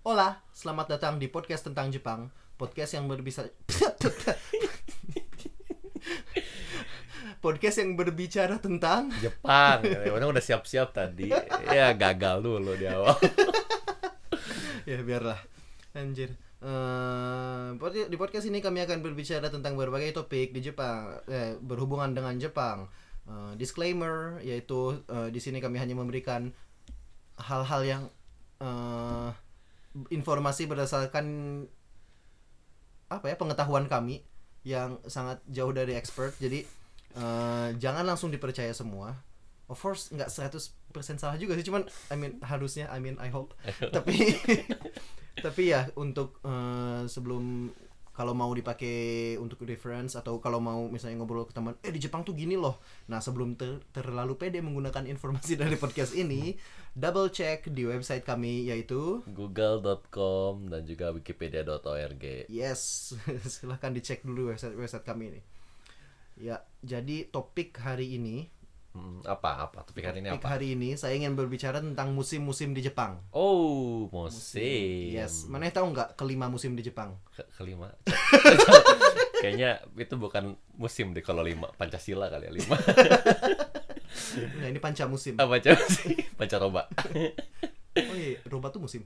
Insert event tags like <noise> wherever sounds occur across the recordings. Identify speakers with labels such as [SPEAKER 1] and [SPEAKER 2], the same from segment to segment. [SPEAKER 1] Hola, selamat datang di podcast tentang Jepang. Podcast yang berbicara <laughs> Podcast yang berbicara tentang
[SPEAKER 2] Jepang. Ya, Orang udah siap-siap tadi. Ya gagal dulu di <laughs> awal.
[SPEAKER 1] ya biarlah. Anjir. Eh, pod- di podcast ini kami akan berbicara tentang berbagai topik di Jepang eh, berhubungan dengan Jepang. Eh, disclaimer yaitu eh, di sini kami hanya memberikan hal-hal yang eh, informasi berdasarkan apa ya pengetahuan kami yang sangat jauh dari expert. Jadi eh, jangan langsung dipercaya semua. Of course nggak 100% salah juga sih, cuman I mean harusnya I mean <laughs> I hope. tapi tapi ya untuk eh, sebelum kalau mau dipakai untuk reference atau kalau mau misalnya ngobrol ke teman, eh di Jepang tuh gini loh. Nah sebelum ter- terlalu pede menggunakan informasi <laughs> dari podcast ini, double check di website kami yaitu
[SPEAKER 2] Google.com dan juga Wikipedia.org.
[SPEAKER 1] yes <laughs> silahkan dicek dulu website website kami ini. Ya jadi topik hari ini,
[SPEAKER 2] Hmm, apa apa topik hari ini
[SPEAKER 1] topik
[SPEAKER 2] apa?
[SPEAKER 1] hari ini saya ingin berbicara tentang musim-musim di Jepang.
[SPEAKER 2] Oh, musim.
[SPEAKER 1] Yes, mana tahu nggak kelima musim di Jepang?
[SPEAKER 2] Ke- kelima. <laughs> Kayaknya itu bukan musim deh kalau lima Pancasila kali ya lima. <laughs>
[SPEAKER 1] Nah ini panca musim.
[SPEAKER 2] Apa coba sih? Pancaroba.
[SPEAKER 1] Oh iya, roba tuh musim.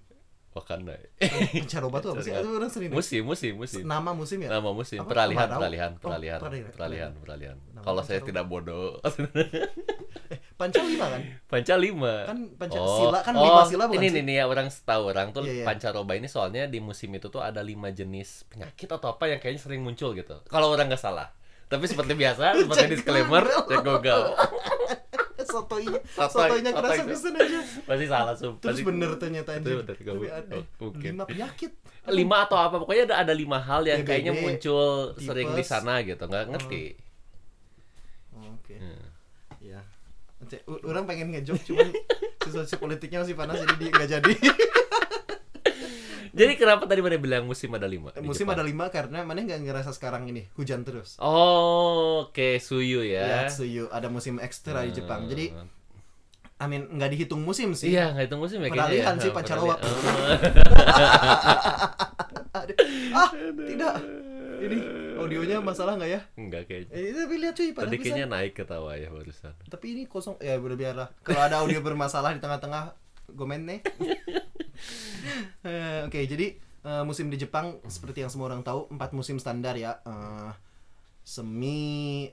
[SPEAKER 2] Wakanda. Eh,
[SPEAKER 1] Pancaroba tuh apa sih? Itu orang sering dengar.
[SPEAKER 2] Musim, musim, musim.
[SPEAKER 1] nama musim ya?
[SPEAKER 2] Nama musim
[SPEAKER 1] Apa?
[SPEAKER 2] peralihan,
[SPEAKER 1] Kemarau?
[SPEAKER 2] peralihan,
[SPEAKER 1] Oh,
[SPEAKER 2] peralihan,
[SPEAKER 1] peralihan.
[SPEAKER 2] peralihan, peralihan.
[SPEAKER 1] Nama
[SPEAKER 2] Kalau saya
[SPEAKER 1] Pancaroba.
[SPEAKER 2] tidak bodoh. <laughs>
[SPEAKER 1] Panca lima kan?
[SPEAKER 2] Panca lima.
[SPEAKER 1] Kan Pancasila, kan lima sila bukan
[SPEAKER 2] Oh. ini,
[SPEAKER 1] sih?
[SPEAKER 2] Ini nih ya orang setahu orang tuh
[SPEAKER 1] Iya, iya.
[SPEAKER 2] pancaroba ini soalnya di musim itu tuh ada lima jenis penyakit atau apa yang kayaknya sering muncul gitu. Kalau orang nggak salah. Tapi seperti
[SPEAKER 1] <laughs>
[SPEAKER 2] biasa,
[SPEAKER 1] Cek
[SPEAKER 2] seperti disclaimer, ya
[SPEAKER 1] Google.
[SPEAKER 2] cek Google.
[SPEAKER 1] <laughs> Sotoinya,
[SPEAKER 2] Sotoy,
[SPEAKER 1] sotoinya
[SPEAKER 2] sotoy
[SPEAKER 1] kerasa
[SPEAKER 2] itu.
[SPEAKER 1] bisa aja.
[SPEAKER 2] Pasti salah sumpah.
[SPEAKER 1] Terus
[SPEAKER 2] Pasti-
[SPEAKER 1] bener ternyata
[SPEAKER 2] Itu
[SPEAKER 1] anjir.
[SPEAKER 2] bener, gak
[SPEAKER 1] Tapi
[SPEAKER 2] bu-
[SPEAKER 1] aneh.
[SPEAKER 2] oh, mungkin.
[SPEAKER 1] Lima penyakit.
[SPEAKER 2] lima atau apa pokoknya ada ada lima hal yang
[SPEAKER 1] DBD,
[SPEAKER 2] kayaknya muncul
[SPEAKER 1] tipes.
[SPEAKER 2] sering di sana gitu nggak ngerti
[SPEAKER 1] Oh, Oke.
[SPEAKER 2] Hmm.
[SPEAKER 1] Ya. Cek, u- orang pengen ngejok
[SPEAKER 2] <laughs>
[SPEAKER 1] cuman situasi politiknya masih panas jadi dia nggak jadi.
[SPEAKER 2] jadi kenapa tadi pada bilang musim ada lima di
[SPEAKER 1] musim
[SPEAKER 2] Jepang?
[SPEAKER 1] ada lima karena mana nggak ngerasa sekarang ini hujan terus.
[SPEAKER 2] oh oke suyu
[SPEAKER 1] Ya,
[SPEAKER 2] ya
[SPEAKER 1] suyu ada musim ekstra di Jepang. Jadi,
[SPEAKER 2] Hmm.
[SPEAKER 1] I mean nggak dihitung musim sih.
[SPEAKER 2] iya nggak hitung musim ya kayaknya
[SPEAKER 1] Peralihan
[SPEAKER 2] ya.
[SPEAKER 1] sih,
[SPEAKER 2] Hmm,
[SPEAKER 1] Pancaroba.
[SPEAKER 2] peralihan.
[SPEAKER 1] Aduh. Ah, tidak. Ini audionya masalah nggak ya?
[SPEAKER 2] Oh, enggak kayaknya
[SPEAKER 1] Eh, tapi lihat cuy, pada
[SPEAKER 2] tadi
[SPEAKER 1] bisa.
[SPEAKER 2] kayaknya naik ketawa ya barusan
[SPEAKER 1] Tapi ini kosong, ya udah biarlah. Kalau ada audio bermasalah di tengah-tengah, gomen
[SPEAKER 2] <laughs>
[SPEAKER 1] nih. Eh, Oke, jadi eh, musim di Jepang seperti yang semua orang tahu empat musim standar ya. Eh, semi,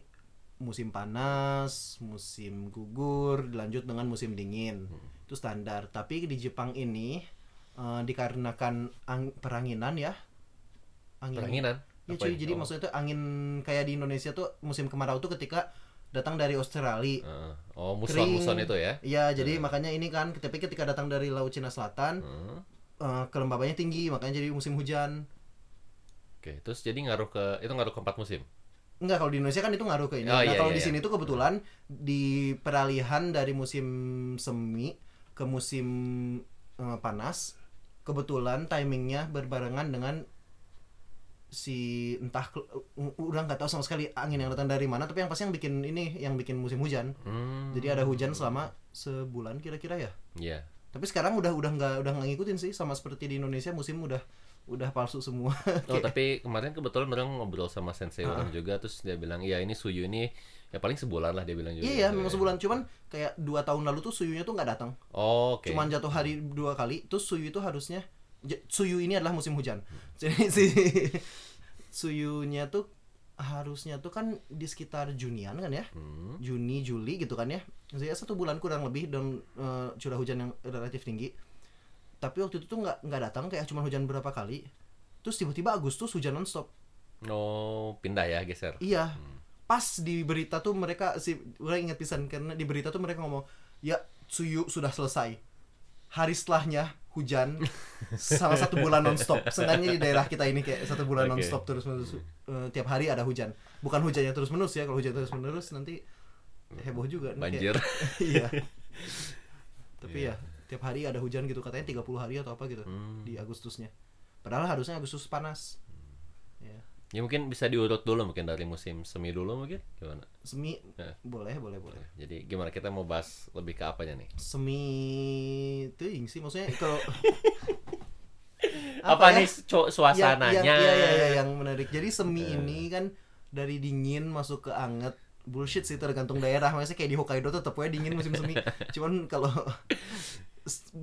[SPEAKER 1] musim panas, musim gugur, dilanjut dengan musim dingin. Itu standar. Tapi di Jepang ini eh, dikarenakan ang- peranginan ya. Angin
[SPEAKER 2] peranginan
[SPEAKER 1] Ya
[SPEAKER 2] Apa
[SPEAKER 1] cuy,
[SPEAKER 2] ya?
[SPEAKER 1] jadi
[SPEAKER 2] Oh.
[SPEAKER 1] maksudnya tuh angin kayak di Indonesia tuh musim kemarau tuh ketika datang dari Australia.
[SPEAKER 2] Heeh. oh muson muson
[SPEAKER 1] Kering.
[SPEAKER 2] itu ya
[SPEAKER 1] Iya, jadi makanya ini kan tapi ketika datang dari Laut Cina Selatan,
[SPEAKER 2] Hmm.
[SPEAKER 1] eh, kelembabannya tinggi, makanya jadi musim hujan.
[SPEAKER 2] oke terus jadi ngaruh ke itu ngaruh ke empat musim
[SPEAKER 1] Enggak, kalau di Indonesia kan itu ngaruh ke ini.
[SPEAKER 2] Oh,
[SPEAKER 1] nah,
[SPEAKER 2] iya,
[SPEAKER 1] kalau
[SPEAKER 2] iya,
[SPEAKER 1] di
[SPEAKER 2] iya.
[SPEAKER 1] sini tuh kebetulan di peralihan dari musim semi ke musim eh, panas, kebetulan timingnya berbarengan dengan si entah kel- u- udah nggak tahu sama sekali angin yang datang dari mana tapi yang pasti yang bikin ini yang bikin musim hujan
[SPEAKER 2] hmm.
[SPEAKER 1] jadi ada hujan selama sebulan kira-kira ya
[SPEAKER 2] Iya.
[SPEAKER 1] tapi sekarang udah udah nggak udah nggak ngikutin sih sama seperti di Indonesia musim udah udah palsu semua
[SPEAKER 2] Oh tapi kemarin kebetulan orang ngobrol sama sensei orang juga terus dia bilang iya ini suyu ini ya paling sebulan lah dia bilang juga.
[SPEAKER 1] iya ya
[SPEAKER 2] gitu
[SPEAKER 1] memang
[SPEAKER 2] ya.
[SPEAKER 1] sebulan cuman kayak dua tahun lalu tuh suyunya tuh nggak datang
[SPEAKER 2] Oh, Oke.
[SPEAKER 1] cuman jatuh hari dua kali terus suyu itu harusnya j- suyu ini adalah musim hujan <laughs> jadi si suyunya tuh harusnya tuh kan di sekitar Junian kan ya
[SPEAKER 2] Hmm.
[SPEAKER 1] Juni Juli gitu kan ya saya satu bulan kurang lebih dan eh, curah hujan yang relatif tinggi tapi waktu itu tuh nggak nggak datang kayak cuma hujan berapa kali terus tiba-tiba Agustus hujan nonstop
[SPEAKER 2] Oh pindah ya geser.
[SPEAKER 1] Iya. Pas di berita tuh mereka si orang ingat pisan karena di berita tuh mereka ngomong, "Ya, suyu sudah selesai." Hari setelahnya hujan sama satu bulan nonstop. Senangnya di daerah kita ini kayak satu bulan
[SPEAKER 2] Oke.
[SPEAKER 1] nonstop terus menerus Eh, tiap hari ada hujan. Bukan hujannya terus menerus ya, kalau hujan terus menerus nanti heboh juga nih,
[SPEAKER 2] Banjir. Iya.
[SPEAKER 1] kayak- <laughs>
[SPEAKER 2] <laughs>
[SPEAKER 1] iya. Tapi ya tiap hari ada hujan gitu katanya 30 hari atau apa gitu
[SPEAKER 2] Hmm.
[SPEAKER 1] di Agustusnya. Padahal harusnya Agustus panas. Ya.
[SPEAKER 2] ya mungkin bisa diurut dulu mungkin dari musim semi dulu mungkin gimana?
[SPEAKER 1] Semi
[SPEAKER 2] Ya.
[SPEAKER 1] boleh, boleh, boleh.
[SPEAKER 2] Jadi gimana kita mau bahas lebih ke apanya nih? <laughs>
[SPEAKER 1] semi ting sih maksudnya kalau
[SPEAKER 2] apa
[SPEAKER 1] ya?
[SPEAKER 2] nih cu-
[SPEAKER 1] Yang,
[SPEAKER 2] suasananya
[SPEAKER 1] yang, iya, iya, iya, yang menarik. Jadi semi ini kan dari dingin masuk ke anget. Bullshit sih tergantung daerah. Maksudnya kayak di Hokkaido tuh tetap aja dingin musim
[SPEAKER 2] <laughs>
[SPEAKER 1] semi. Cuman kalau s-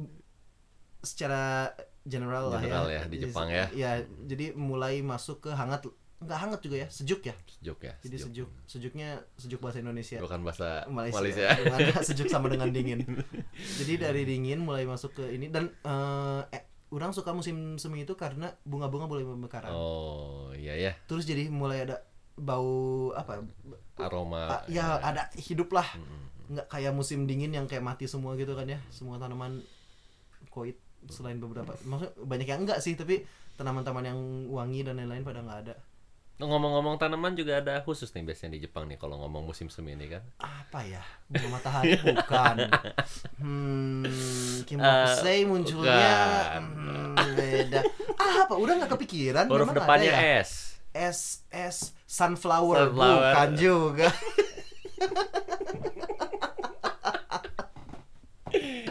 [SPEAKER 1] secara general, lah
[SPEAKER 2] General
[SPEAKER 1] ya.
[SPEAKER 2] ya, di Jepang ya.
[SPEAKER 1] Iya, jadi mulai masuk ke hangat nggak hangat juga ya, sejuk ya.
[SPEAKER 2] sejuk ya
[SPEAKER 1] Jadi sejuk. Sejuknya sejuk bahasa Indonesia.
[SPEAKER 2] bukan bahasa
[SPEAKER 1] Malaysia, iya,
[SPEAKER 2] Malaysia,
[SPEAKER 1] <laughs> Karena sejuk sama dengan dingin. Jadi dari dingin mulai masuk ke ini dan eh, eh, orang suka musim semi itu karena bunga-bunga mulai memekaran.
[SPEAKER 2] <laughs> oh iya ya
[SPEAKER 1] Terus jadi mulai ada bau apa? Ah,
[SPEAKER 2] aroma iya,
[SPEAKER 1] ya ada hidup lah.
[SPEAKER 2] Hmm,
[SPEAKER 1] Nggak kayak musim dingin yang kayak mati semua gitu kan ya. Semua tanaman koit selain beberapa. Maksudnya banyak yang enggak sih, tapi tanaman-tanaman yang wangi dan lain-lain pada nggak ada.
[SPEAKER 2] Nah, ngomong-ngomong tanaman juga ada khusus nih biasanya di Jepang nih kalau ngomong musim semi ini kan
[SPEAKER 1] apa ya bunga matahari
[SPEAKER 2] <laughs>
[SPEAKER 1] bukan hmm kimokuse munculnya
[SPEAKER 2] Eh, bukan.
[SPEAKER 1] hmm, beda ah, apa udah nggak kepikiran
[SPEAKER 2] huruf
[SPEAKER 1] Memang ada
[SPEAKER 2] depannya
[SPEAKER 1] ya?
[SPEAKER 2] S
[SPEAKER 1] s s sunflower,
[SPEAKER 2] Sunflower.
[SPEAKER 1] bukan
[SPEAKER 2] <laughs>
[SPEAKER 1] juga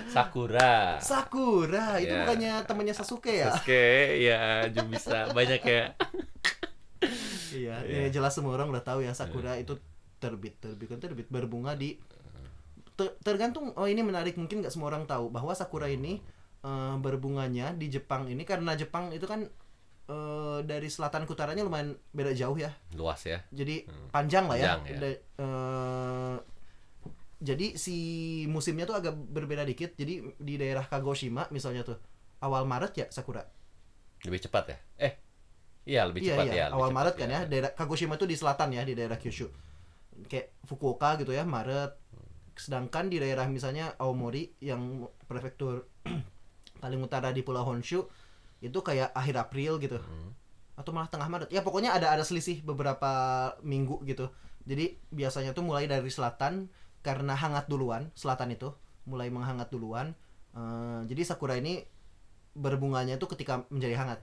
[SPEAKER 2] sakura
[SPEAKER 1] sakura itu
[SPEAKER 2] Ya.
[SPEAKER 1] bukannya temannya Sasuke ya
[SPEAKER 2] Oke, ya juga bisa banyak ya.
[SPEAKER 1] iya
[SPEAKER 2] Iya.
[SPEAKER 1] ya, jelas semua orang udah tahu ya sakura itu terbit terbit kan terbit berbunga di Ter- tergantung oh ini menarik mungkin nggak semua orang tahu bahwa sakura ini eh, berbunganya di Jepang ini karena Jepang itu kan eh, dari selatan ke utaranya lumayan beda jauh ya
[SPEAKER 2] Luas ya.
[SPEAKER 1] jadi panjang lah ya,
[SPEAKER 2] Panjang, ya.
[SPEAKER 1] Da- eh, jadi si musimnya tuh agak berbeda dikit jadi di daerah Kagoshima misalnya tuh awal Maret ya sakura
[SPEAKER 2] Lebih cepat ya? Eh. Iya, lebih
[SPEAKER 1] iya,
[SPEAKER 2] cepat
[SPEAKER 1] iya.
[SPEAKER 2] ya. lebih
[SPEAKER 1] awal
[SPEAKER 2] cepat,
[SPEAKER 1] Maret kan ya. Daerah Kagoshima itu di selatan ya, di daerah Kyushu. Kayak Fukuoka gitu ya, Maret. Sedangkan di daerah misalnya Aomori yang prefektur <clears throat> paling utara di Pulau Honshu itu kayak akhir April gitu.
[SPEAKER 2] Hmm.
[SPEAKER 1] Atau malah tengah Maret. Ya pokoknya ada ada selisih beberapa minggu gitu. Jadi biasanya tuh mulai dari selatan karena hangat duluan, selatan itu mulai menghangat duluan. Eh, jadi sakura ini berbunganya itu ketika menjadi hangat.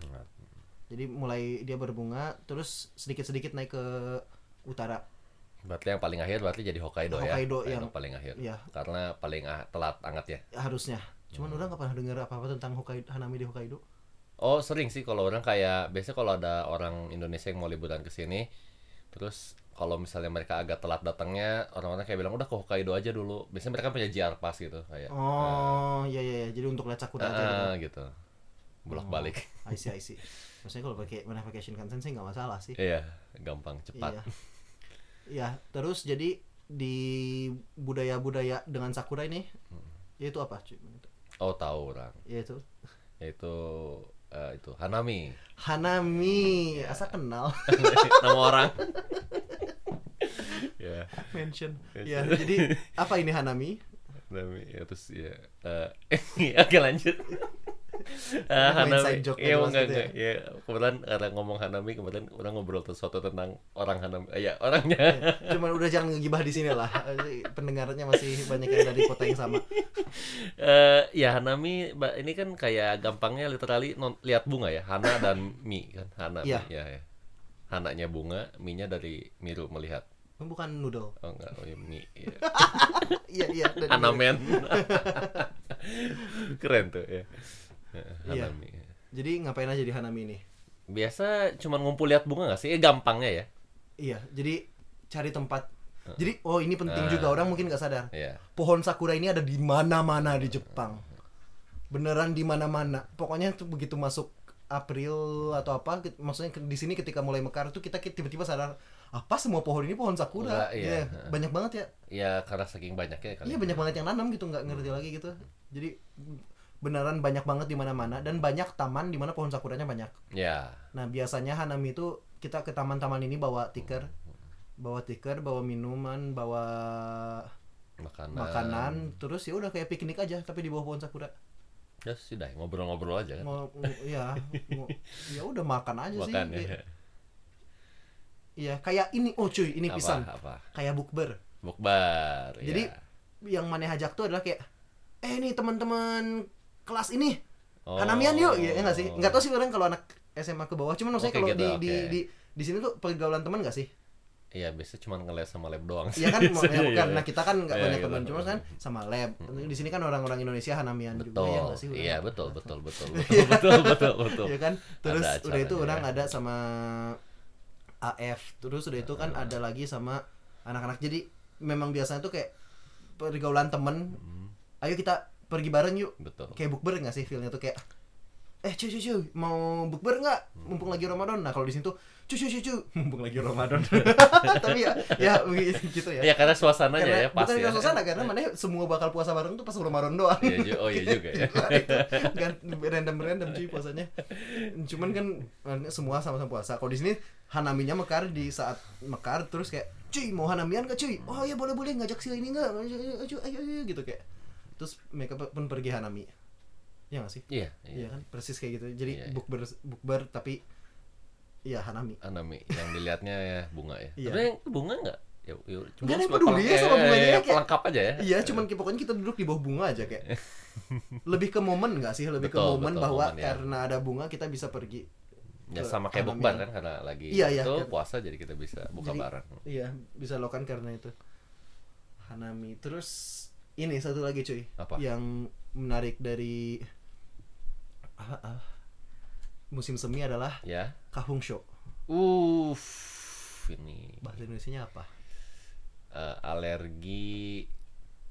[SPEAKER 1] Jadi mulai dia berbunga, terus sedikit-sedikit naik ke utara.
[SPEAKER 2] Berarti yang paling akhir berarti jadi Hokkaido, ya.
[SPEAKER 1] Hokkaido yang-
[SPEAKER 2] paling akhir.
[SPEAKER 1] Iya.
[SPEAKER 2] Karena paling ah- telat anget ya.
[SPEAKER 1] Harusnya. Cuman
[SPEAKER 2] Hmm.
[SPEAKER 1] udah nggak pernah dengar apa-apa tentang Hokkaido, Hanami di Hokkaido.
[SPEAKER 2] Oh, sering sih kalau orang kayak biasanya kalau ada orang Indonesia yang mau liburan ke sini terus kalau misalnya mereka agak telat datangnya, orang-orang kayak bilang udah ke Hokkaido aja dulu. Biasanya mereka punya JR Pass gitu kayak.
[SPEAKER 1] Oh, iya iya iya. Jadi untuk lihat sakura aja gitu. Oh,
[SPEAKER 2] "Ah," gitu. Bolak-balik.
[SPEAKER 1] I see, I see. Maksudnya kalau pakai mana pakai Shinkansen sih nggak masalah sih.
[SPEAKER 2] <laughs> Iya, gampang,
[SPEAKER 1] Oh.
[SPEAKER 2] cepat.
[SPEAKER 1] Iya. Iya, terus jadi di budaya-budaya dengan sakura ini
[SPEAKER 2] Hmm.
[SPEAKER 1] yaitu apa? cuy?
[SPEAKER 2] Oh, tahu orang.
[SPEAKER 1] Yaitu
[SPEAKER 2] Yaitu eh, itu Hanami.
[SPEAKER 1] <laughs> Hanami.
[SPEAKER 2] Iya.
[SPEAKER 1] Asa kenal <laughs>
[SPEAKER 2] nama orang. <laughs> ya,
[SPEAKER 1] mention. Ya, jadi apa ini Hanami?
[SPEAKER 2] Hanami ya terus ya. eh, <laughs> oke lanjut. Eh,
[SPEAKER 1] Ini mau inside gitu joke aja,
[SPEAKER 2] Iya, enggak,
[SPEAKER 1] maksudnya
[SPEAKER 2] enggak. Ya, kebetulan karena ngomong Hanami, kebetulan orang ngobrol sesuatu tentang orang Hanami.
[SPEAKER 1] Iya.
[SPEAKER 2] Eh, ya, orangnya.
[SPEAKER 1] Cuman udah jangan ngegibah di sini lah. Pendengarnya masih banyak yang dari kota yang sama.
[SPEAKER 2] Eh, ya Hanami ba- ini kan kayak gampangnya literally non- lihat bunga ya. Hana dan Mi kan. Hana. Mi,
[SPEAKER 1] Iya.
[SPEAKER 2] Ya, ya. Hananya bunga, Mi-nya dari Miru melihat.
[SPEAKER 1] Bukan noodle.
[SPEAKER 2] Oh enggak, oh, ya, Mi. Ya.
[SPEAKER 1] Iya, iya. <laughs> dari-
[SPEAKER 2] Anamen. <laughs> Keren tuh ya.
[SPEAKER 1] Iya.
[SPEAKER 2] Hanami. ya.
[SPEAKER 1] Jadi ngapain aja di Hanami ini?
[SPEAKER 2] Biasa cuman ngumpul lihat bunga gak sih? Eh, gampangnya ya.
[SPEAKER 1] Iya, jadi cari tempat. Jadi, oh ini penting
[SPEAKER 2] Ah.
[SPEAKER 1] juga orang mungkin nggak sadar.
[SPEAKER 2] Iya.
[SPEAKER 1] Pohon sakura ini ada di mana-mana di Jepang. Beneran di mana-mana. Pokoknya tuh begitu masuk April atau apa, ke- maksudnya ke- di sini ketika mulai mekar tuh kita ki- tiba-tiba sadar apa semua pohon ini pohon sakura.
[SPEAKER 2] Enggak, iya.
[SPEAKER 1] Iya, banyak banget ya.
[SPEAKER 2] Ya karena saking banyaknya kali. ya. Hmm.
[SPEAKER 1] Iya banyak banget yang nanam gitu nggak ngerti lagi gitu. Jadi beneran banyak banget di mana-mana dan banyak taman di mana pohon sakuranya banyak.
[SPEAKER 2] Ya.
[SPEAKER 1] Nah biasanya Hanami itu kita ke taman-taman ini bawa tiker, bawa tiker, bawa minuman, bawa
[SPEAKER 2] Makanan.
[SPEAKER 1] makanan, terus ya udah kayak piknik aja tapi di bawah pohon sakura.
[SPEAKER 2] Ya sudah ngobrol-ngobrol aja kan. <laughs>
[SPEAKER 1] Mau, mau- ya, mau- ya udah makan aja sih.
[SPEAKER 2] Makan
[SPEAKER 1] Kayak-
[SPEAKER 2] <laughs> ya.
[SPEAKER 1] Iya kayak ini, oh cuy ini
[SPEAKER 2] Apa,
[SPEAKER 1] pisang,
[SPEAKER 2] Apa?
[SPEAKER 1] kayak bukber.
[SPEAKER 2] Bukbar. ya.
[SPEAKER 1] Jadi yang maneh ajak tuh adalah kayak eh nih teman-teman kelas ini
[SPEAKER 2] Oh.
[SPEAKER 1] Hanamian yuk, ya enggak sih? Enggak tahu sih orang kalau anak SMA ke bawah, cuman maksudnya kalau
[SPEAKER 2] Oke, gitu,
[SPEAKER 1] di, di
[SPEAKER 2] oke. <laughs>
[SPEAKER 1] di di sini tuh pergaulan teman enggak sih?
[SPEAKER 2] Iya, biasanya cuma ngeliat sama lab doang sih.
[SPEAKER 1] Iya
[SPEAKER 2] <laughs>
[SPEAKER 1] kan, mau-
[SPEAKER 2] Biasanya,
[SPEAKER 1] ya,
[SPEAKER 2] iya,
[SPEAKER 1] bukan.
[SPEAKER 2] iya.
[SPEAKER 1] Nah kita kan nggak
[SPEAKER 2] Iya,
[SPEAKER 1] banyak
[SPEAKER 2] kita
[SPEAKER 1] teman,
[SPEAKER 2] nggak
[SPEAKER 1] cuma kan sama lab. Di sini kan orang-orang Indonesia hanamian juga ya
[SPEAKER 2] betul.
[SPEAKER 1] nggak sih? Ulan?
[SPEAKER 2] Iya, betul, betul,
[SPEAKER 1] <laughs>
[SPEAKER 2] betul, betul, betul, betul, betul.
[SPEAKER 1] Iya kan. Terus
[SPEAKER 2] Ada
[SPEAKER 1] udah itu
[SPEAKER 2] acaranya,
[SPEAKER 1] orang
[SPEAKER 2] ya.
[SPEAKER 1] ada sama AF. Terus udah itu kan ada lagi sama anak-anak. Jadi memang biasanya tuh kayak pergaulan temen.
[SPEAKER 2] Hmm.
[SPEAKER 1] Ayo kita pergi bareng yuk.
[SPEAKER 2] Betul.
[SPEAKER 1] Kayak bukber nggak sih feelnya tuh kayak eh cuy cuy cuy mau bukber nggak mumpung lagi Ramadan nah kalau di sini tuh cuy cuy cuy cuy <laughs> mumpung lagi Ramadan <laughs> tapi ya ya
[SPEAKER 2] <laughs>
[SPEAKER 1] gitu ya
[SPEAKER 2] Iya, karena suasananya
[SPEAKER 1] karena
[SPEAKER 2] ya pas
[SPEAKER 1] bukan
[SPEAKER 2] ya.
[SPEAKER 1] karena suasana kan? karena mana semua bakal puasa bareng tuh pas Ramadan doang
[SPEAKER 2] Iya, ju- oh iya juga
[SPEAKER 1] <laughs>
[SPEAKER 2] ya.
[SPEAKER 1] Gila, itu random random cuy puasanya cuman kan eh, semua sama-sama puasa kalau di sini hanaminya mekar di saat mekar terus kayak cuy mau hanamian gak cuy oh ya boleh boleh ngajak si ini nggak ayo ayo, ayo, ayo," gitu kayak terus mereka pun pergi hanami ya gak sih
[SPEAKER 2] Iya, iya.
[SPEAKER 1] Iya kan persis kayak gitu jadi
[SPEAKER 2] Iya, iya.
[SPEAKER 1] bukber bukber tapi ya hanami
[SPEAKER 2] Anami Anu, yang dilihatnya ya bunga ya.
[SPEAKER 1] Iya.
[SPEAKER 2] Tapi yang bunga enggak? Ya, ya, cuma
[SPEAKER 1] Nggak ada yang
[SPEAKER 2] sebagai
[SPEAKER 1] peduli ya
[SPEAKER 2] peleng-
[SPEAKER 1] sama
[SPEAKER 2] eh,
[SPEAKER 1] bunganya,
[SPEAKER 2] eh,
[SPEAKER 1] kayak-
[SPEAKER 2] pelengkap aja ya.
[SPEAKER 1] Iya, cuman ki- pokoknya kita duduk di bawah bunga aja
[SPEAKER 2] <laughs>
[SPEAKER 1] kayak. Lebih ke momen nggak sih? Lebih ke
[SPEAKER 2] Betul,
[SPEAKER 1] momen
[SPEAKER 2] betul,
[SPEAKER 1] bahwa
[SPEAKER 2] momen, ya.
[SPEAKER 1] karena ada bunga kita bisa pergi. Ke
[SPEAKER 2] Ya sama kayak
[SPEAKER 1] Hanami.
[SPEAKER 2] bukber kan karena lagi
[SPEAKER 1] Iya, iya,
[SPEAKER 2] itu
[SPEAKER 1] kan.
[SPEAKER 2] puasa jadi kita bisa buka
[SPEAKER 1] Jadi-
[SPEAKER 2] bareng.
[SPEAKER 1] Iya, bisa lokan karena itu. Hanami. Terus ini satu lagi cuy.
[SPEAKER 2] Apa?
[SPEAKER 1] Yang menarik dari ah, ah, musim semi adalah
[SPEAKER 2] Ya.
[SPEAKER 1] kahung show.
[SPEAKER 2] Uff, ini
[SPEAKER 1] Bahasa Indonesianya apa?
[SPEAKER 2] eh, alergi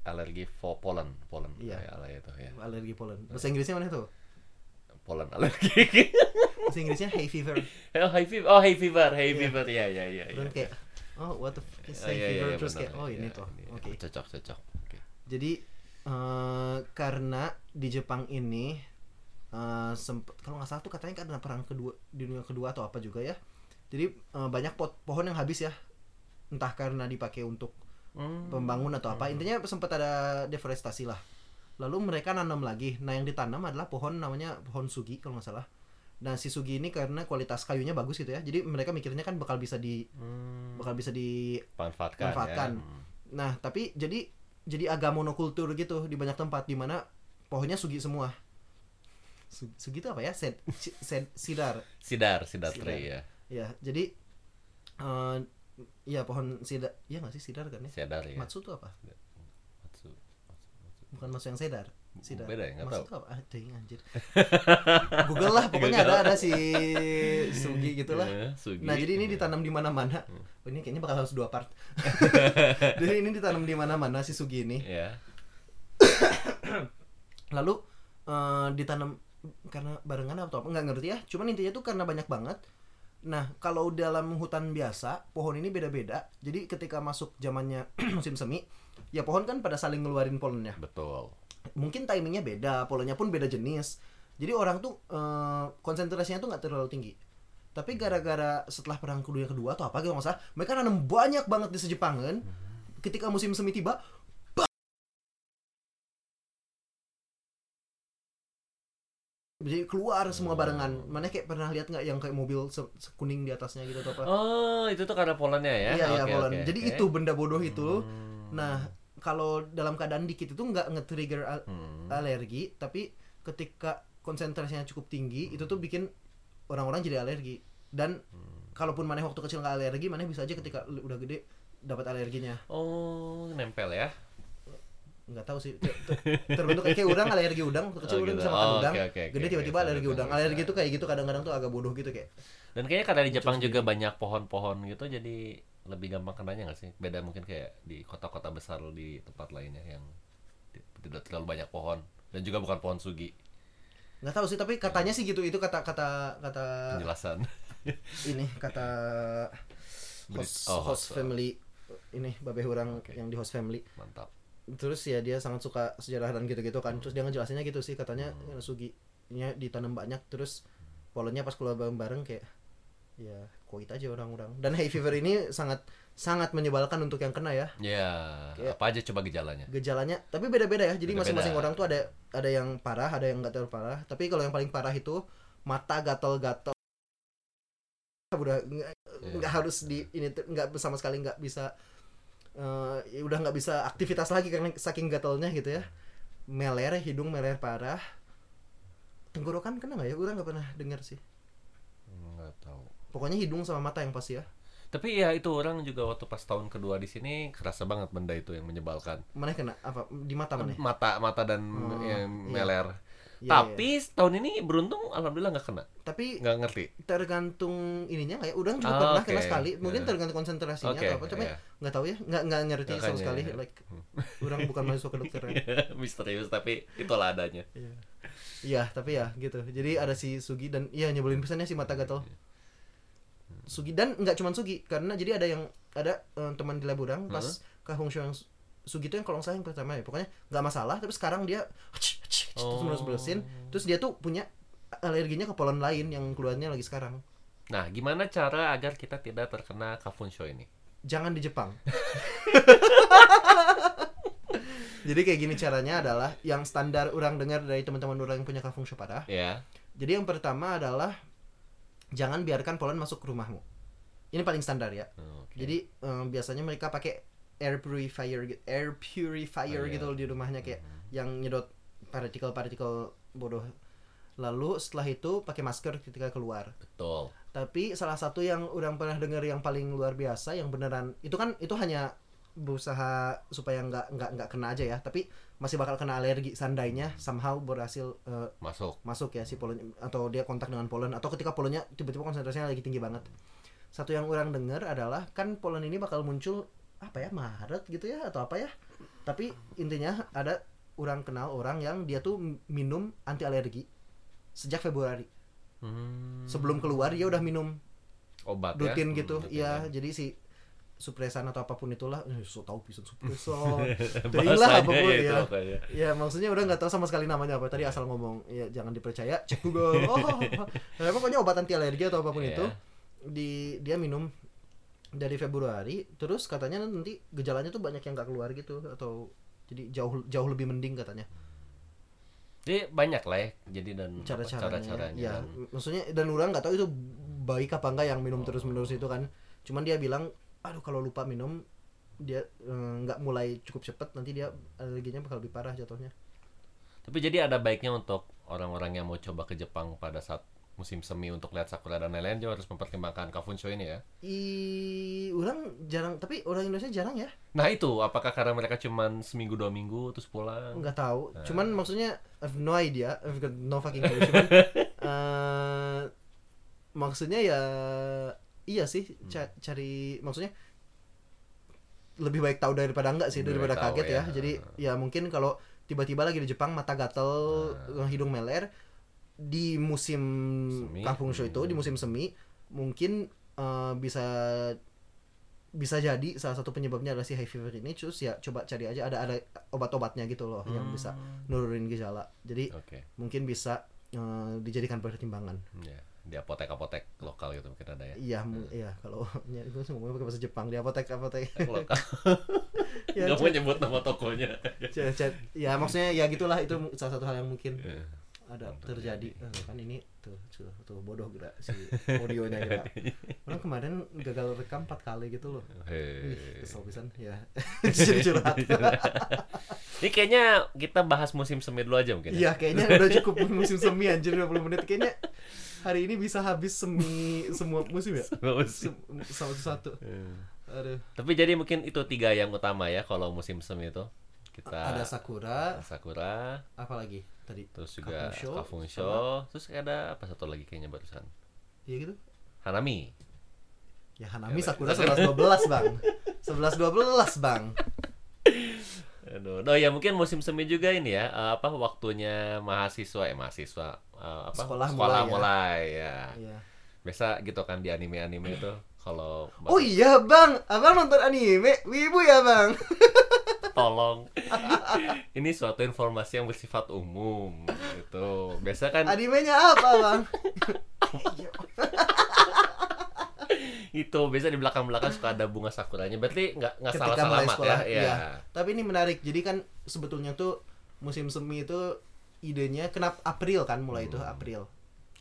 [SPEAKER 2] alergi fo polen, polen
[SPEAKER 1] Iya.
[SPEAKER 2] kayak ala itu ya.
[SPEAKER 1] Alergi polen. Bahasa Inggrisnya mana tuh?
[SPEAKER 2] Polen alergi. <laughs>
[SPEAKER 1] Bahasa Inggrisnya hay fever.
[SPEAKER 2] oh, hay fever. Oh, hay fever, hay fever. Ya, ya, ya. iya,
[SPEAKER 1] Terus Iya. kayak oh what the fuck is hay fever? Terus kayak oh ini tuh. Oke.
[SPEAKER 2] Cocok, cocok. Oke.
[SPEAKER 1] Jadi eh, karena di Jepang ini eh, sempet kalau nggak salah tuh katanya karena perang kedua dunia kedua atau apa juga ya. Jadi eh, banyak pot- pohon yang habis ya. Entah karena dipakai untuk
[SPEAKER 2] Hmm.
[SPEAKER 1] pembangun atau apa. Intinya sempat ada deforestasi lah. Lalu mereka nanam lagi. Nah, yang ditanam adalah pohon namanya pohon sugi kalau nggak salah. Nah, si sugi ini karena kualitas kayunya bagus gitu ya. Jadi mereka mikirnya kan bakal bisa di
[SPEAKER 2] Hmm.
[SPEAKER 1] bakal bisa di
[SPEAKER 2] Manfaatkan.
[SPEAKER 1] Manfaatkan.
[SPEAKER 2] Ya. Hmm.
[SPEAKER 1] Nah, tapi jadi jadi agak monokultur gitu di banyak tempat di mana pohonnya sugi semua. Su- Sugi itu apa ya? Sed, si- sed, sidar.
[SPEAKER 2] Sidar, sidar
[SPEAKER 1] Sidar.
[SPEAKER 2] tree ya.
[SPEAKER 1] Ya, jadi eh ya pohon sidar. Iya nggak sih sidar kan ya?
[SPEAKER 2] Sidar ya.
[SPEAKER 1] Matsu itu apa?
[SPEAKER 2] Matsu. Matsu.
[SPEAKER 1] Bukan matsu yang sedar. Sidar.
[SPEAKER 2] Beda ya, nggak
[SPEAKER 1] Matsu
[SPEAKER 2] tahu.
[SPEAKER 1] itu apa? Ah, ding, anjir. <laughs> Google lah, pokoknya
[SPEAKER 2] Google.
[SPEAKER 1] ada ada si sugi gitulah.
[SPEAKER 2] Ya, sugi.
[SPEAKER 1] Nah, jadi ini
[SPEAKER 2] Ya.
[SPEAKER 1] ditanam di mana-mana. Oh, ini kayaknya bakal harus dua part. <laughs> jadi ini ditanam di mana-mana si sugi ini.
[SPEAKER 2] Ya.
[SPEAKER 1] lalu eh, ditanam karena barengan atau apa nggak ngerti ya cuman intinya tuh karena banyak banget nah kalau dalam hutan biasa pohon ini beda-beda jadi ketika masuk zamannya <clears throat> musim semi ya pohon kan pada saling ngeluarin polennya
[SPEAKER 2] Betul.
[SPEAKER 1] mungkin timingnya beda polennya pun beda jenis jadi orang tuh eh, konsentrasinya tuh nggak terlalu tinggi tapi gara-gara setelah perang dunia kedua atau apa gitu nggak salah mereka nanam banyak banget di sejepang kan
[SPEAKER 2] Hmm.
[SPEAKER 1] ketika musim semi tiba ba- jadi keluar
[SPEAKER 2] Hmm.
[SPEAKER 1] semua barengan mana kayak pernah lihat nggak yang kayak mobil se- se- kuning di atasnya gitu atau apa
[SPEAKER 2] Oh, itu tuh karena polennya ya.
[SPEAKER 1] iya iya
[SPEAKER 2] Oke,
[SPEAKER 1] polen
[SPEAKER 2] oke,
[SPEAKER 1] jadi
[SPEAKER 2] oke.
[SPEAKER 1] itu benda bodoh itu
[SPEAKER 2] Hmm.
[SPEAKER 1] nah kalau dalam keadaan dikit itu nggak nge-trigger al-
[SPEAKER 2] Hmm.
[SPEAKER 1] alergi tapi ketika konsentrasinya cukup tinggi
[SPEAKER 2] Hmm.
[SPEAKER 1] itu tuh bikin orang-orang jadi alergi dan kalaupun maneh waktu kecil nggak alergi maneh bisa aja ketika lu udah gede dapat alerginya
[SPEAKER 2] Oh, nempel ya.
[SPEAKER 1] nggak tahu sih Ter-
[SPEAKER 2] <laughs>
[SPEAKER 1] ter- terbentuk kayak kayak udang alergi udang waktu kecil
[SPEAKER 2] Oh,
[SPEAKER 1] udang
[SPEAKER 2] gitu.
[SPEAKER 1] bisa makan
[SPEAKER 2] Oh,
[SPEAKER 1] udang
[SPEAKER 2] oke, oke, oke,
[SPEAKER 1] gede
[SPEAKER 2] oke.
[SPEAKER 1] tiba-tiba
[SPEAKER 2] Bisa,
[SPEAKER 1] alergi
[SPEAKER 2] bisa,
[SPEAKER 1] udang
[SPEAKER 2] bisa.
[SPEAKER 1] alergi tuh kayak gitu kadang-kadang tuh agak bodoh gitu kayak
[SPEAKER 2] Dan kayaknya karena di Jepang juga banyak pohon-pohon gitu jadi lebih gampang kenanya nggak sih? Beda mungkin kayak di kota-kota besar di tempat lainnya yang ti- tidak terlalu banyak pohon dan juga bukan pohon sugi
[SPEAKER 1] nggak tahu sih tapi katanya sih gitu itu kata kata kata
[SPEAKER 2] penjelasan. <laughs>
[SPEAKER 1] ini kata host,
[SPEAKER 2] Oh,
[SPEAKER 1] host
[SPEAKER 2] host.
[SPEAKER 1] family ini babeh orang
[SPEAKER 2] Oke.
[SPEAKER 1] yang di host family
[SPEAKER 2] Mantap.
[SPEAKER 1] terus ya dia sangat suka sejarah dan gitu-gitu kan terus dia ngejelasinnya gitu sih katanya eh, suginya ditanam banyak terus polennya pas keluar bareng-bareng kayak ya koit aja orang-orang dan hay fever ini sangat sangat menyebalkan untuk yang kena ya
[SPEAKER 2] Ya,
[SPEAKER 1] Kayak-
[SPEAKER 2] apa aja coba gejalanya?
[SPEAKER 1] gejalanya tapi beda-beda ya jadi
[SPEAKER 2] Beda-beda.
[SPEAKER 1] masing-masing orang tuh ada ada yang parah ada yang nggak terlalu parah tapi kalau yang paling parah itu mata gatal-gatal udah nggak
[SPEAKER 2] Iya.
[SPEAKER 1] nggak harus di ini tuh, nggak sama sekali nggak bisa eh, ya udah nggak bisa aktivitas lagi karena saking gatalnya gitu ya meler hidung meler parah tenggorokan kena nggak ya gue nggak pernah dengar sih
[SPEAKER 2] Nggak tahu.
[SPEAKER 1] pokoknya hidung sama mata yang pasti ya
[SPEAKER 2] Tapi ya itu orang juga waktu pas tahun kedua di sini kerasa banget benda itu yang menyebalkan.
[SPEAKER 1] Mana kena apa di mata mana?
[SPEAKER 2] Mata mata dan
[SPEAKER 1] Oh, iya.
[SPEAKER 2] yang meler.
[SPEAKER 1] Iya,
[SPEAKER 2] Tapi tahun ini beruntung alhamdulillah nggak kena.
[SPEAKER 1] Tapi
[SPEAKER 2] Nggak ngerti.
[SPEAKER 1] tergantung ininya kayak udang juga
[SPEAKER 2] Ah,
[SPEAKER 1] pernah
[SPEAKER 2] oke.
[SPEAKER 1] kena sekali mungkin
[SPEAKER 2] Iya.
[SPEAKER 1] tergantung konsentrasinya
[SPEAKER 2] Oke,
[SPEAKER 1] atau apa cuma
[SPEAKER 2] iya.
[SPEAKER 1] nggak tahu ya nggak nggak ngerti
[SPEAKER 2] Makanya,
[SPEAKER 1] sama sekali
[SPEAKER 2] iya.
[SPEAKER 1] like udang bukan
[SPEAKER 2] <laughs>
[SPEAKER 1] masuk ke dokter ya
[SPEAKER 2] Misterius tapi itulah adanya.
[SPEAKER 1] iya tapi ya gitu jadi ada si Sugi dan iya nyebelin pesannya si mata gatel
[SPEAKER 2] Iya.
[SPEAKER 1] Sugi dan nggak cuma Sugi karena jadi ada yang ada eh, teman di Laburang pas Kahung Shou yang Sugi itu yang kalau nggak salah yang pertama ya pokoknya nggak masalah tapi sekarang dia terus menerus bersin terus dia tuh punya alerginya ke polen lain yang keluarnya lagi sekarang
[SPEAKER 2] Nah, gimana cara agar kita tidak terkena kafunsho ini?
[SPEAKER 1] jangan di
[SPEAKER 2] <laughs>
[SPEAKER 1] Jepang. Jadi kayak gini caranya adalah yang standar orang dengar dari teman-teman orang yang punya kafung parah.
[SPEAKER 2] Ya.
[SPEAKER 1] Jadi yang pertama adalah jangan biarkan polen masuk ke rumahmu. Ini paling standar ya.
[SPEAKER 2] Oke.
[SPEAKER 1] Jadi eh, biasanya mereka pakai air purifier gi- air purifier
[SPEAKER 2] Oh, iya.
[SPEAKER 1] gitu loh di rumahnya kayak yang nyedot partikel-partikel bodoh. Lalu setelah itu pakai masker ketika keluar.
[SPEAKER 2] Betul.
[SPEAKER 1] Tapi salah satu yang orang pernah dengar yang paling luar biasa yang beneran itu kan itu hanya berusaha supaya nggak nggak nggak kena aja ya. Tapi masih bakal kena alergi seandainya somehow berhasil eh,
[SPEAKER 2] Masuk.
[SPEAKER 1] masuk ya si polen atau dia kontak dengan polen atau ketika polennya tiba-tiba konsentrasinya lagi tinggi banget. Satu yang orang dengar adalah kan polen ini bakal muncul apa ya Maret gitu ya atau apa ya. Tapi intinya ada orang kenal orang yang dia tuh minum anti alergi sejak Februari.
[SPEAKER 2] Hmm.
[SPEAKER 1] Sebelum keluar dia udah minum
[SPEAKER 2] obat ya?
[SPEAKER 1] rutin
[SPEAKER 2] Hmm,
[SPEAKER 1] gitu
[SPEAKER 2] rutin
[SPEAKER 1] iya
[SPEAKER 2] ya.
[SPEAKER 1] jadi si supresan atau apapun itulah eh, so tau pisan supresan <laughs>
[SPEAKER 2] <laughs>
[SPEAKER 1] Teuing lah
[SPEAKER 2] ya. Bahasanya
[SPEAKER 1] apapun
[SPEAKER 2] ya itu
[SPEAKER 1] ya
[SPEAKER 2] makanya.
[SPEAKER 1] ya maksudnya udah nggak tahu sama sekali namanya apa tadi asal ngomong ya jangan dipercaya cek
[SPEAKER 2] <laughs>
[SPEAKER 1] google oh nah, pokoknya obat anti alergi atau apapun
[SPEAKER 2] Iya.
[SPEAKER 1] itu di dia minum dari Februari terus katanya nanti gejalanya tuh banyak yang nggak keluar gitu atau jadi jauh jauh lebih mending katanya
[SPEAKER 2] Jadi banyak lah ya. Jadi dan apa,
[SPEAKER 1] cara-caranya.
[SPEAKER 2] cara-caranya
[SPEAKER 1] ya,
[SPEAKER 2] dan-
[SPEAKER 1] m- maksudnya dan orang nggak tahu itu baik apa enggak yang minum terus-menerus itu kan. Cuman dia bilang, aduh kalau lupa minum dia eh, nggak mulai cukup cepet nanti dia alerginya bakal lebih parah jatuhnya.
[SPEAKER 2] Tapi jadi ada baiknya untuk orang-orang yang mau coba ke Jepang pada saat musim semi untuk lihat sakura dan lain-lain dia harus mempertimbangkan kafunsho ini ya.
[SPEAKER 1] I orang jarang tapi orang Indonesia jarang ya
[SPEAKER 2] Nah itu apakah karena mereka cuman seminggu dua minggu terus pulang?
[SPEAKER 1] nggak tahu cuman maksudnya I've no idea I've got no fucking
[SPEAKER 2] <laughs>
[SPEAKER 1] clue cuman eh, maksudnya ya iya sih ca-
[SPEAKER 2] Hmm.
[SPEAKER 1] cari maksudnya lebih baik tahu daripada enggak sih
[SPEAKER 2] Lebih
[SPEAKER 1] daripada
[SPEAKER 2] baik tahu
[SPEAKER 1] kaget ya.
[SPEAKER 2] ya.
[SPEAKER 1] jadi ya mungkin kalau tiba-tiba lagi di Jepang mata gatel eh, hidung meler di musim
[SPEAKER 2] Semi. Hmm.
[SPEAKER 1] kampung show itu di musim semi mungkin eh, bisa bisa jadi salah satu penyebabnya adalah si high fever ini terus ya coba cari aja ada ada obat-obatnya gitu loh yang bisa nurunin gejala jadi
[SPEAKER 2] Hmm. Oke.
[SPEAKER 1] mungkin bisa eh, dijadikan pertimbangan
[SPEAKER 2] Ya, di apotek-apotek lokal gitu mungkin ada ya.
[SPEAKER 1] iya mu- iya kalau <laughs> ya, gue sih ngomongnya pakai bahasa Jepang di apotek apotek
[SPEAKER 2] <laughs> Apotek lokal.
[SPEAKER 1] <laughs> Ya,
[SPEAKER 2] Nggak mau nyebut nama
[SPEAKER 1] <laughs>
[SPEAKER 2] tokonya.
[SPEAKER 1] Chat, chat. ya maksudnya ya gitulah itu salah satu hal yang mungkin
[SPEAKER 2] Ya.
[SPEAKER 1] ada terjadi Eh, kan ini tuh tuh, tuh bodoh gerak si audionya
[SPEAKER 2] <laughs>
[SPEAKER 1] gerak
[SPEAKER 2] Iya.
[SPEAKER 1] orang kemarin gagal rekam 4 kali gitu loh Ih,
[SPEAKER 2] Hei. Iya.
[SPEAKER 1] kesel pisan ya <laughs> jadi curhat
[SPEAKER 2] Ini kayaknya kita bahas musim semi dulu aja mungkin.
[SPEAKER 1] iya
[SPEAKER 2] ya?
[SPEAKER 1] kayaknya udah cukup musim semi anjir 20 menit kayaknya hari ini bisa habis semi semua musim ya
[SPEAKER 2] Bagus.
[SPEAKER 1] Sem- satu satu
[SPEAKER 2] Iya.
[SPEAKER 1] aduh
[SPEAKER 2] Tapi jadi mungkin itu tiga yang utama ya kalau musim semi itu kita
[SPEAKER 1] ada sakura
[SPEAKER 2] sakura,
[SPEAKER 1] apalagi tadi
[SPEAKER 2] terus juga
[SPEAKER 1] Kafunsho,
[SPEAKER 2] kafunsho, terus ada apa satu lagi kayaknya barusan
[SPEAKER 1] ya gitu
[SPEAKER 2] hanami.
[SPEAKER 1] ya Hanami
[SPEAKER 2] Iya,
[SPEAKER 1] Sakura 11 12 bang 11 12 bang
[SPEAKER 2] Aduh, oh ya mungkin musim semi juga ini ya eh, apa waktunya mahasiswa eh mahasiswa eh, apa
[SPEAKER 1] Sekolah mulai ya.
[SPEAKER 2] mulai, ya.
[SPEAKER 1] Iya.
[SPEAKER 2] Biasa gitu kan di anime-anime itu kalau
[SPEAKER 1] Oh iya bang, abang nonton anime, wibu ya bang. iya.
[SPEAKER 2] tolong <laughs> ini suatu informasi yang bersifat umum gitu. Biasa kan
[SPEAKER 1] Animenya apa
[SPEAKER 2] <laughs>
[SPEAKER 1] bang? Iya.
[SPEAKER 2] itu biasa di belakang-belakang suka ada bunga sakuranya. Berarti nggak nggak salah
[SPEAKER 1] Ketika mulai
[SPEAKER 2] salamat ya.
[SPEAKER 1] sekolah,
[SPEAKER 2] Iya.
[SPEAKER 1] iya. Tapi ini menarik, jadi kan sebetulnya tuh musim semi itu idenya kenapa April kan mulai
[SPEAKER 2] Hmm.
[SPEAKER 1] itu April.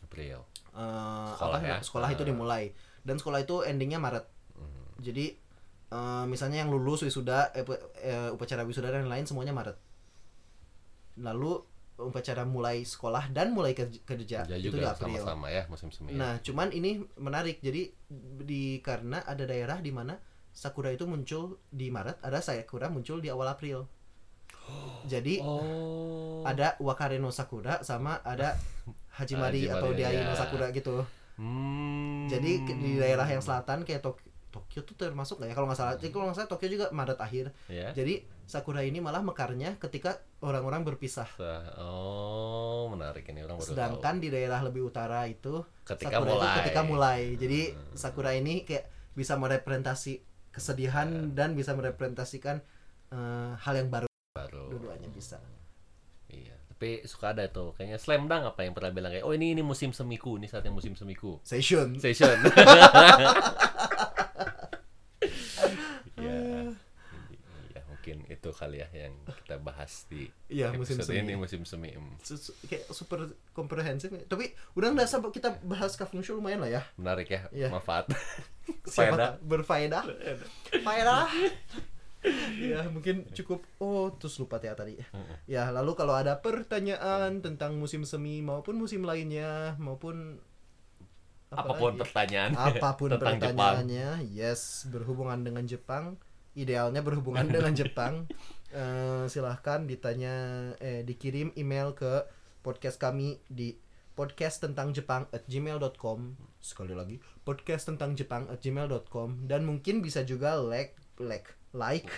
[SPEAKER 2] April.
[SPEAKER 1] Eh,
[SPEAKER 2] Sekolah
[SPEAKER 1] apa,
[SPEAKER 2] ya.
[SPEAKER 1] sekolah itu
[SPEAKER 2] Eh. Hmm.
[SPEAKER 1] dimulai dan sekolah itu endingnya Maret. Jadi eh, misalnya yang lulus wisuda, eh, pe- eh, upacara wisuda dan lain semuanya Maret. Lalu upacara mulai sekolah dan mulai kerja, kerja Ya,
[SPEAKER 2] Kerja
[SPEAKER 1] itu di
[SPEAKER 2] juga
[SPEAKER 1] April.
[SPEAKER 2] sama-sama ya musim semi.
[SPEAKER 1] Nah, cuman ini menarik. Jadi di karena ada daerah di mana sakura itu muncul di Maret, ada sakura muncul di awal
[SPEAKER 2] <gasps>
[SPEAKER 1] April. Jadi
[SPEAKER 2] oh.
[SPEAKER 1] ada Wakare no Sakura sama
[SPEAKER 2] <laughs>
[SPEAKER 1] ada Hajimari
[SPEAKER 2] Hajimari,
[SPEAKER 1] atau Dai no
[SPEAKER 2] ya.
[SPEAKER 1] Sakura gitu.
[SPEAKER 2] Hmm.
[SPEAKER 1] Jadi ke- di daerah yang selatan kayak Tok- Tokyo tuh termasuk nggak ya kalau nggak salah. Jadi kalau nggak salah Tokyo juga Maret akhir.
[SPEAKER 2] Ya.
[SPEAKER 1] Jadi sakura ini malah mekarnya ketika orang-orang berpisah.
[SPEAKER 2] Sa- Oh, menarik ini orang baru
[SPEAKER 1] Sedangkan di daerah lebih utara itu
[SPEAKER 2] tahu. ketika
[SPEAKER 1] sakura
[SPEAKER 2] mulai Hmm.
[SPEAKER 1] itu ketika mulai. Jadi sakura ini kayak bisa merepresentasi kesedihan
[SPEAKER 2] Eh.
[SPEAKER 1] dan bisa merepresentasikan eh, hal yang baru
[SPEAKER 2] baru.
[SPEAKER 1] dua-duanya bisa.
[SPEAKER 2] Iya, tapi suka ada tuh kayaknya slam dunk apa yang pernah bilang kayak oh ini ini musim semiku, ini saatnya musim semiku.
[SPEAKER 1] Session. <laughs>
[SPEAKER 2] Session. ya. Ya, mungkin itu kali ya yang kita bahas di
[SPEAKER 1] Iya, musim
[SPEAKER 2] episode
[SPEAKER 1] semi.
[SPEAKER 2] ini musim semi. em.
[SPEAKER 1] Su- su- kayak super komprehensif tapi udah nggak sampai kita bahas ke feng shui lumayan lah ya
[SPEAKER 2] Menarik ya,
[SPEAKER 1] Iya.
[SPEAKER 2] manfaat.
[SPEAKER 1] Siapa
[SPEAKER 2] Faedah.
[SPEAKER 1] tak- berfaedah faedah ya mungkin cukup oh terus lupa ya tadi ya lalu kalau ada pertanyaan tentang musim semi maupun musim lainnya maupun apa
[SPEAKER 2] apapun
[SPEAKER 1] lagi?
[SPEAKER 2] pertanyaan <laughs>
[SPEAKER 1] apapun
[SPEAKER 2] kan? tentang Jepang.
[SPEAKER 1] pertanyaannya yes berhubungan dengan Jepang idealnya
[SPEAKER 2] <laughs>
[SPEAKER 1] berhubungan dengan Jepang Eh, silahkan ditanya eh, dikirim email ke podcast kami di podcast tentang Jepang at gmail.com sekali lagi podcast tentang Jepang at gmail.com dan mungkin bisa juga like like
[SPEAKER 2] <laughs>
[SPEAKER 1] like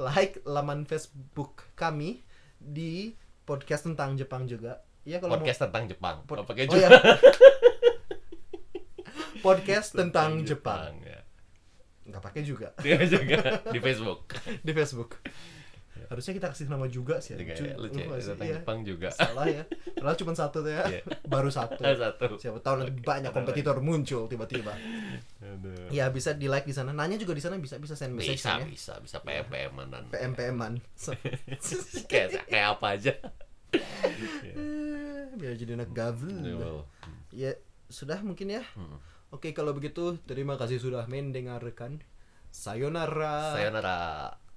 [SPEAKER 1] like laman Facebook kami di podcast tentang Jepang juga ya kalau mau-
[SPEAKER 2] Podcast tentang Jepang.
[SPEAKER 1] Pod-
[SPEAKER 2] Nggak pakai
[SPEAKER 1] oh
[SPEAKER 2] Jepang. <laughs>
[SPEAKER 1] iya. podcast tentang Jepang.
[SPEAKER 2] ya.
[SPEAKER 1] Nggak pakai juga <laughs>
[SPEAKER 2] Dia juga di Facebook.
[SPEAKER 1] di Facebook. Harusnya kita kasih nama juga sih. ya.
[SPEAKER 2] Juga
[SPEAKER 1] Lucu,
[SPEAKER 2] ya, lucu ya,
[SPEAKER 1] lucu sih,
[SPEAKER 2] tentang
[SPEAKER 1] iya.
[SPEAKER 2] Jepang juga. <laughs>
[SPEAKER 1] Salah ya. Padahal cuma satu tuh ya.
[SPEAKER 2] Iya.
[SPEAKER 1] <laughs> Baru satu.
[SPEAKER 2] <laughs> Satu.
[SPEAKER 1] Siapa tahu nanti banyak kompetitor muncul tiba-tiba.
[SPEAKER 2] Aduh.
[SPEAKER 1] Ya bisa di like di sana. Nanya juga di sana bisa bisa send message
[SPEAKER 2] Iya.
[SPEAKER 1] ya.
[SPEAKER 2] Bisa, bisa, bisa PM PM
[SPEAKER 1] <laughs>
[SPEAKER 2] dan
[SPEAKER 1] PM
[SPEAKER 2] <laughs>
[SPEAKER 1] PM-an. So-
[SPEAKER 2] kayak kayak apa aja.
[SPEAKER 1] Eh, Biar jadi anak gavel. Ya sudah mungkin ya. Oke kalau begitu terima kasih sudah mendengarkan. Sayonara.
[SPEAKER 2] Sayonara.